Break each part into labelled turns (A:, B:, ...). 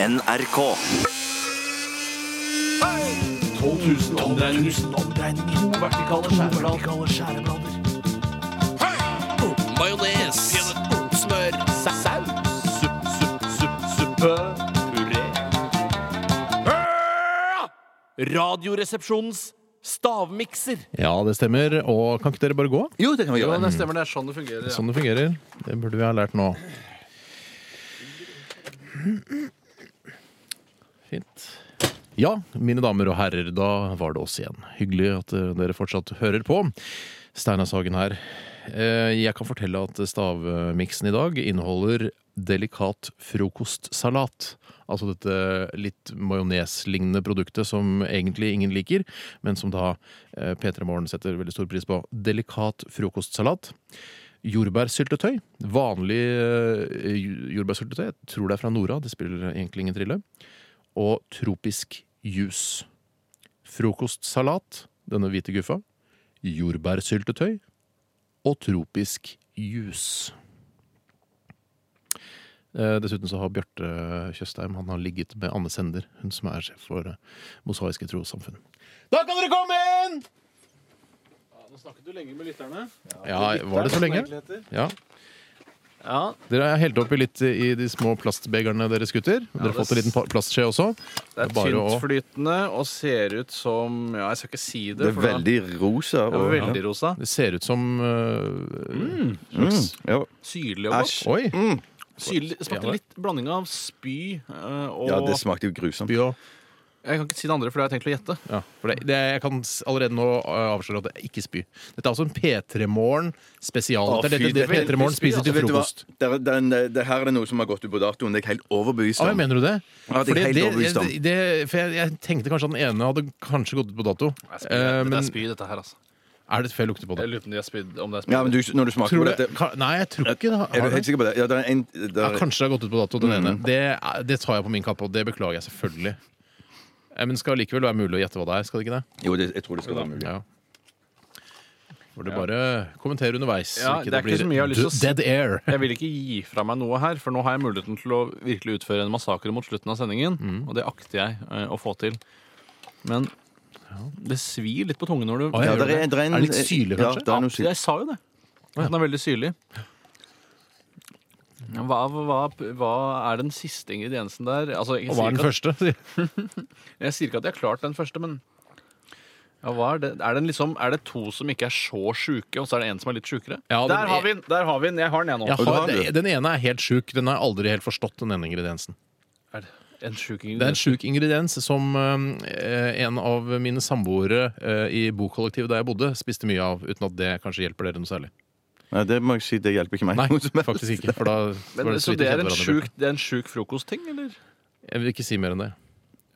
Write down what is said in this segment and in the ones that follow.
A: NRK.
B: 12 000 omdreininger. To vertikale skjæreblader. Majones. Smør. Saus. Supp, supp, supp, suppe. Puré. Ah! Radioresepsjonens stavmikser.
C: Ja, det stemmer. Og kan ikke dere bare gå?
D: Jo, det kan vi
E: Jo,
D: gjøre.
E: det stemmer. Det er sånn det fungerer. Ja.
C: Sånn det fungerer. Det burde vi ha lært nå. Fint. Ja, mine damer og herrer, da var det oss igjen. Hyggelig at eh, dere fortsatt hører på. Steinar Sagen her. Eh, Jeg kan fortelle at stavmiksen i dag inneholder delikat frokostsalat. Altså dette litt majoneslignende produktet som egentlig ingen liker, men som da eh, P3 Morgen setter veldig stor pris på. Delikat frokostsalat jordbærsyltetøy. Vanlig eh, ju- jordbærsyltetøy. Jeg tror det er fra Nora, det spiller egentlig ingen trille. Og tropisk juice. Frokostsalat, denne hvite guffa. Jordbærsyltetøy. Og tropisk juice. Eh, Dessuten så har Bjarte Tjøstheim han har ligget med Anne Sender, hun som er sjef for eh, Mosaiske trossamfunn. Da kan dere komme inn!
E: Nå snakket du lenge med lytterne.
C: Ja, Var det så lenge? Ja,
E: Ja,
C: Dere har helt oppi litt i de små plastbegerne deres, gutter. dere har fått en liten pa- plastskje også.
E: Det er
C: Bare å-
E: tyntflytende og ser ut som Ja, jeg skal ikke si det.
D: Det er
E: for da-
D: veldig rosa.
E: det
D: og-
E: er veldig rosa.
C: Det ser ut som øh,
D: Mm, ja.
E: Syrlig og godt.
D: Æsj.
C: Oi!
E: Syrlig, det
C: Ja,
E: smakte litt blanding av spy eh, og
D: ja, det smakte jo grusomt.
C: By og
E: Jeg kan ikke si det andre, for det har jeg tenkt å gjette.
C: ja, for det, det, Jeg kan s- allerede nå øh, avsløre at det er ikke spy. Dette er altså en P3morgen spesial.
D: Å,
C: det er
D: fy,
C: dette det
D: det er
E: veldig
C: P3morgen
E: spy,
C: spiser
D: Du
C: til
D: Altså, vet du hva?
C: frokost.
D: Det, er- den, det her er det noe som har gått ut på datoen. Det er jeg helt overbevist
C: Ah,
D: om.
C: mener du det?
D: Ja, det er
C: Fordi
D: helt overbevist om.
C: det, det, for jeg, jeg tenkte kanskje at den ene hadde kanskje gått ut på dato.
E: Det er spy,
C: Eh,
E: dette,
C: men
E: er spy, dette her, altså.
C: er det før jeg lukter på det?
E: Jeg lurer på om de har spydd om det er spy.
D: Ja, men du, når du smaker
C: Tror
D: på
C: du,
D: dette
C: ka- nei, jeg tror ikke det. har-
D: Er
C: har
D: du
C: det.
D: helt sikker på det? Ja, det er en, det Mm. er,
C: Ja, kanskje det har gått ut på dato, den ene. Det, er- det tar jeg på min kappe, og det beklager jeg selvfølgelig. Eh, Men det skal likevel være mulig å gjette hva det er, skal det ikke det?
D: jo, det, jeg tror det skal være mulig.
C: Ja. Får du bare kommentere underveis. så
E: Ja, det er ikke
C: blir
E: så mye jeg har lyst til å
C: d- Dead air.
E: Jeg vil ikke gi fra meg noe her, for nå har jeg muligheten til å virkelig utføre en massakre mot slutten av sendingen,
C: Mm.
E: og det akter jeg eh, å få til. Men det svir litt på tungen når du
C: Å, ja,
D: Ja,
C: gjør
D: der
C: det.
D: der
C: Er det litt syrlig,
D: ja,
C: kanskje?
D: der er
E: Absolutt,
D: noe syrlig.
E: Jeg sa jo det. Den er veldig syrlig. Hva, hva, hva er den siste ingrediensen der? Altså, jeg,
C: Og
E: sier
C: hva er den
E: ikke at,
C: første? sier jeg.
E: jeg sier ikke at jeg har klart den første, men ja, hva er, det? Er, den liksom, er det to som ikke er så sjuke, og så er det en som er litt sjukere?
C: Ja, den-
E: der har vi den! Der har vi den! Jeg har den, jeg nå.
C: Jeg
D: Og du
C: har,
D: har den,
C: den ene er helt sjuk. Den har jeg aldri helt forstått, den ene ingrediensen.
E: Er det en sjuk
C: Det er en
E: ingrediens?
C: sjuk ingrediens som eh, en av mine samboere eh, i bokollektivet der jeg bodde, spiste mye av, uten at det kanskje hjelper dere noe særlig.
D: Nei, det må jeg si, det hjelper ikke meg.
C: Nei,
D: noe som helst.
C: faktisk ikke. For da var
E: Men,
C: så
E: så
C: vidt vi
E: det er,
C: kjente
E: en
C: hverandre.
E: sjuk, det er en sjuk frokostting, eller?
C: Jeg vil ikke si mer enn det.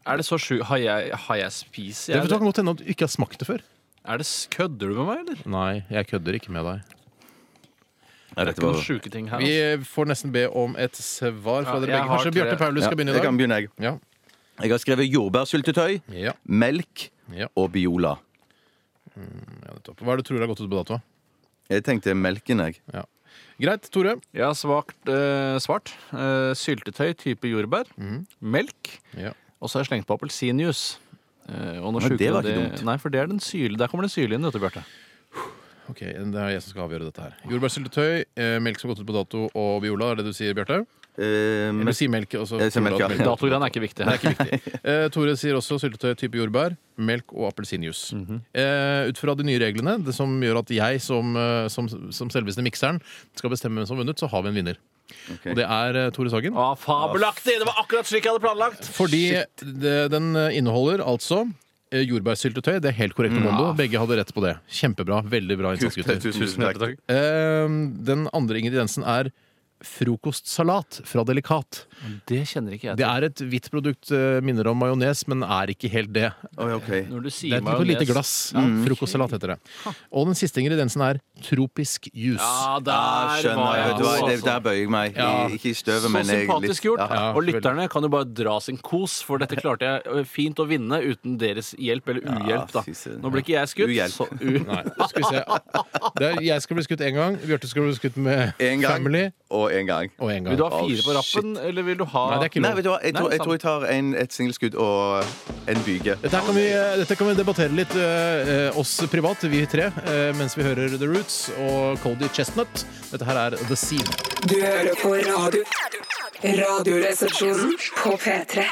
E: Er det så sjuk Har jeg, har jeg spist?
C: Det
E: Jeg,
C: kan godt hende at du ikke har smakt det før.
E: er det Kødder du med meg, eller?
C: Nei, jeg kødder ikke med deg.
D: Nei,
E: Det er
D: dette
E: ikke
D: var
E: noen sjuke ting her.
C: Vi
E: altså.
C: får nesten be om et svar fra
E: Ja,
C: dere
E: jeg
C: begge.
E: har
C: Kanskje
E: tre.
C: Bjarte Paulus skal begynne
D: Jeg
C: i
D: kan
C: dag?
D: begynne, jeg.
C: Ja.
D: Jeg har skrevet jordbærsyltetøy,
C: Ja.
D: melk
C: Ja.
D: og Biola.
C: Ja, nettopp. Hva er det du tror har gått ut på dato?
D: Jeg tenkte melken, jeg.
C: Greit, Tore.
E: Jeg har svakt, eh, svart. Eh, syltetøy type jordbær. Melk.
C: Ja.
E: Og så har jeg slengt på appelsinjuice. Eh, og når
D: Men det
E: sjuke-
D: var ikke dumt.
E: Nei, for det er den syle, Der kommer den syrlige inn, vet du, Bjarte.
C: Ok, Det er jeg som skal avgjøre dette her. Jordbærsyltetøy, eh, melk som har gått ut på dato, og Biola. Er det du sier, Bjarte?
D: Eh,
C: Eller
D: men-
C: du sier melk, og så
D: Jeg sier
C: Tore
D: melk,
C: at
D: ja.
E: Datogreiene er ikke viktig
C: Det
E: her.
C: er ikke viktig. Eh, Tore sier også syltetøy type jordbær, melk og appelsinjuice.
D: Mhm.
C: eh, ut fra de nye reglene, det som gjør at jeg som, eh, som, som selveste mikseren skal bestemme hvem som har vunnet, så har vi en vinner.
D: Ok.
C: Og det er eh, Tore Sagen.
E: Å, fabelaktig! Det var akkurat slik jeg hadde planlagt!
C: Fordi det, den inneholder altså eh, jordbærsyltetøy. Det er helt korrekt, Mondo.
E: Mm.
C: Begge hadde rett på det. Kjempebra. Veldig bra innsats,
D: Tusen,
C: gutter.
D: tusen takk.
C: Eh, Den andre ingrediensen er frokostsalat fra Delikat.
E: Det kjenner ikke jeg
C: Det
E: til.
C: er et hvitt produkt, eh, minner om majones, men er ikke helt det.
D: Oi, ok.
E: Når du
C: Det
E: sier
C: er et for lite
E: majones- Mm.
C: glass. Mm. Frokostsalat heter det. Og den siste ingrediensen er tropisk juice.
E: Ja, der
D: Ah,
E: var
D: skjønner.
E: jeg
D: Vet du hva,
E: god,
D: det,
E: altså.
D: der bøyer jeg meg.
C: Ja.
D: I, ikke i støvet,
E: Så
D: men jeg
E: sympatisk gjort.
D: Ja.
C: Ja,
E: og lytterne kan jo bare dra sin kos, for dette klarte jeg eh, fint å vinne uten deres hjelp eller uhjelp. da
D: fy søren.
E: Nå ble ikke jeg skutt.
D: Uhjelp.
E: Så, u
C: Nei, skal vi se. Det er, jeg skal bli skutt én gang. Bjarte skal bli skutt med
D: En gang
C: Family.
D: og og én gang.
C: Og en gang.
E: Vil du ha
D: Oh,
E: fire på
D: shit.
E: rappen, eller vil du ha
C: Nei, det er ikke
D: Nei,
C: lov.
D: vet du hva? Jeg
E: Nei,
D: tror jeg,
E: sant.
D: tror jeg tar en, et singelskudd og en byge.
C: Dette, her kan vi, eh, dette kan vi debattere litt eh, eh, oss privat, vi tre, eh, mens vi hører The Roots og Cody Chestnut. Dette her er The Scene.
A: Du hører på radio. Radioresepsjonen på P3.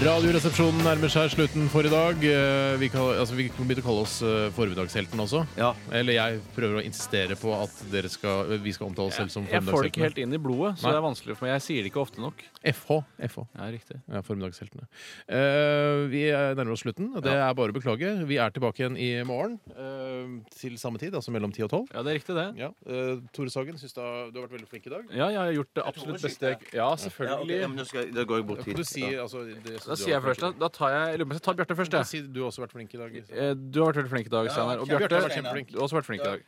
C: Radioresepsjonen nærmer seg slutten for i dag. Eh, Vi kan, altså, vi kan begynne å kalle oss eh, formiddagsheltene også.
D: Ja.
C: Eller jeg prøver å insistere på at dere skal, vi skal omtale oss selv som
E: Jeg får det ikke
C: formiddagsheltene.
E: helt inn i blodet, så
C: Nei.
E: det er vanskelig for meg. Jeg sier det ikke ofte nok.
C: FH. FH.
E: Ja, riktig.
C: Ja, formiddagsheltene. Eh, vi er- nærmer oss slutten. og Det er bare å beklage. Vi er tilbake igjen i morgen eh, til samme tid, altså mellom 10 og 12.
E: Ja, det er riktig, det.
C: Ja. eh, Tore Sagen, synes du, har- du har vært veldig flink i dag.
E: Ja, jeg har gjort det absolutt beste jeg Ja, selvfølgelig.
D: da går jeg bort
C: Kan du si, altså, det,
E: Da sier jeg først, da, da tar jeg jeg lurer på om jeg tar Bjarte først, jeg.
C: Si, du har også vært flink i dag. liksom.
E: Eh, Du har vært veldig flink i dag, Steinar. Og
C: Bjarte
E: Bjarte,
C: har vært kjempeflink.
E: du har også vært flink i dag.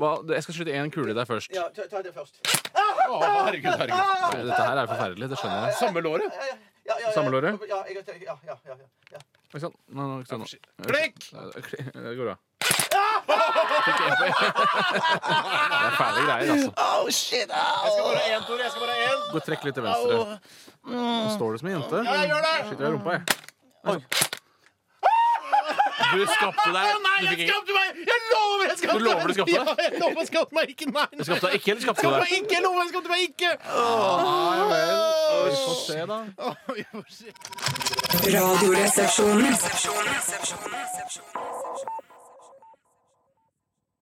E: Hva, jeg skal skyte én kule i deg først.
D: ta, det først.
C: Å, herregud, herregud.
E: Nei, Dette her er forferdelig. Det skjønner jeg.
C: Samme låret.
E: Samme låret?
D: Ja, ja, ja, ja, ja.
E: Ikke sant? Nei, nå, ikke sant. nå.
C: Klikk!
E: Nei, Det går bra.
D: Ah!
E: Fikk en på- Det er fæle greier, altså.
D: Oh, shit! Au!
E: Gå og trekk litt til venstre. Nå står du som ei jente. Skyter deg i rumpa, jeg.
D: Ah!
E: Du skapte deg du fikk ikke-
C: skapte meg! Jeg lover jeg skapte
E: Du lover du skapte deg?
C: Ja, jeg lover jeg skapte meg ikke, nei! nei.
E: Du skapte deg ikke, eller skapte du
C: Skapte
E: deg?
C: meg ikke, jeg lover jeg skapte meg ikke!
E: Ja vel. Vi får se, da.
C: Å, vi får se.
A: Radioresepsjonen.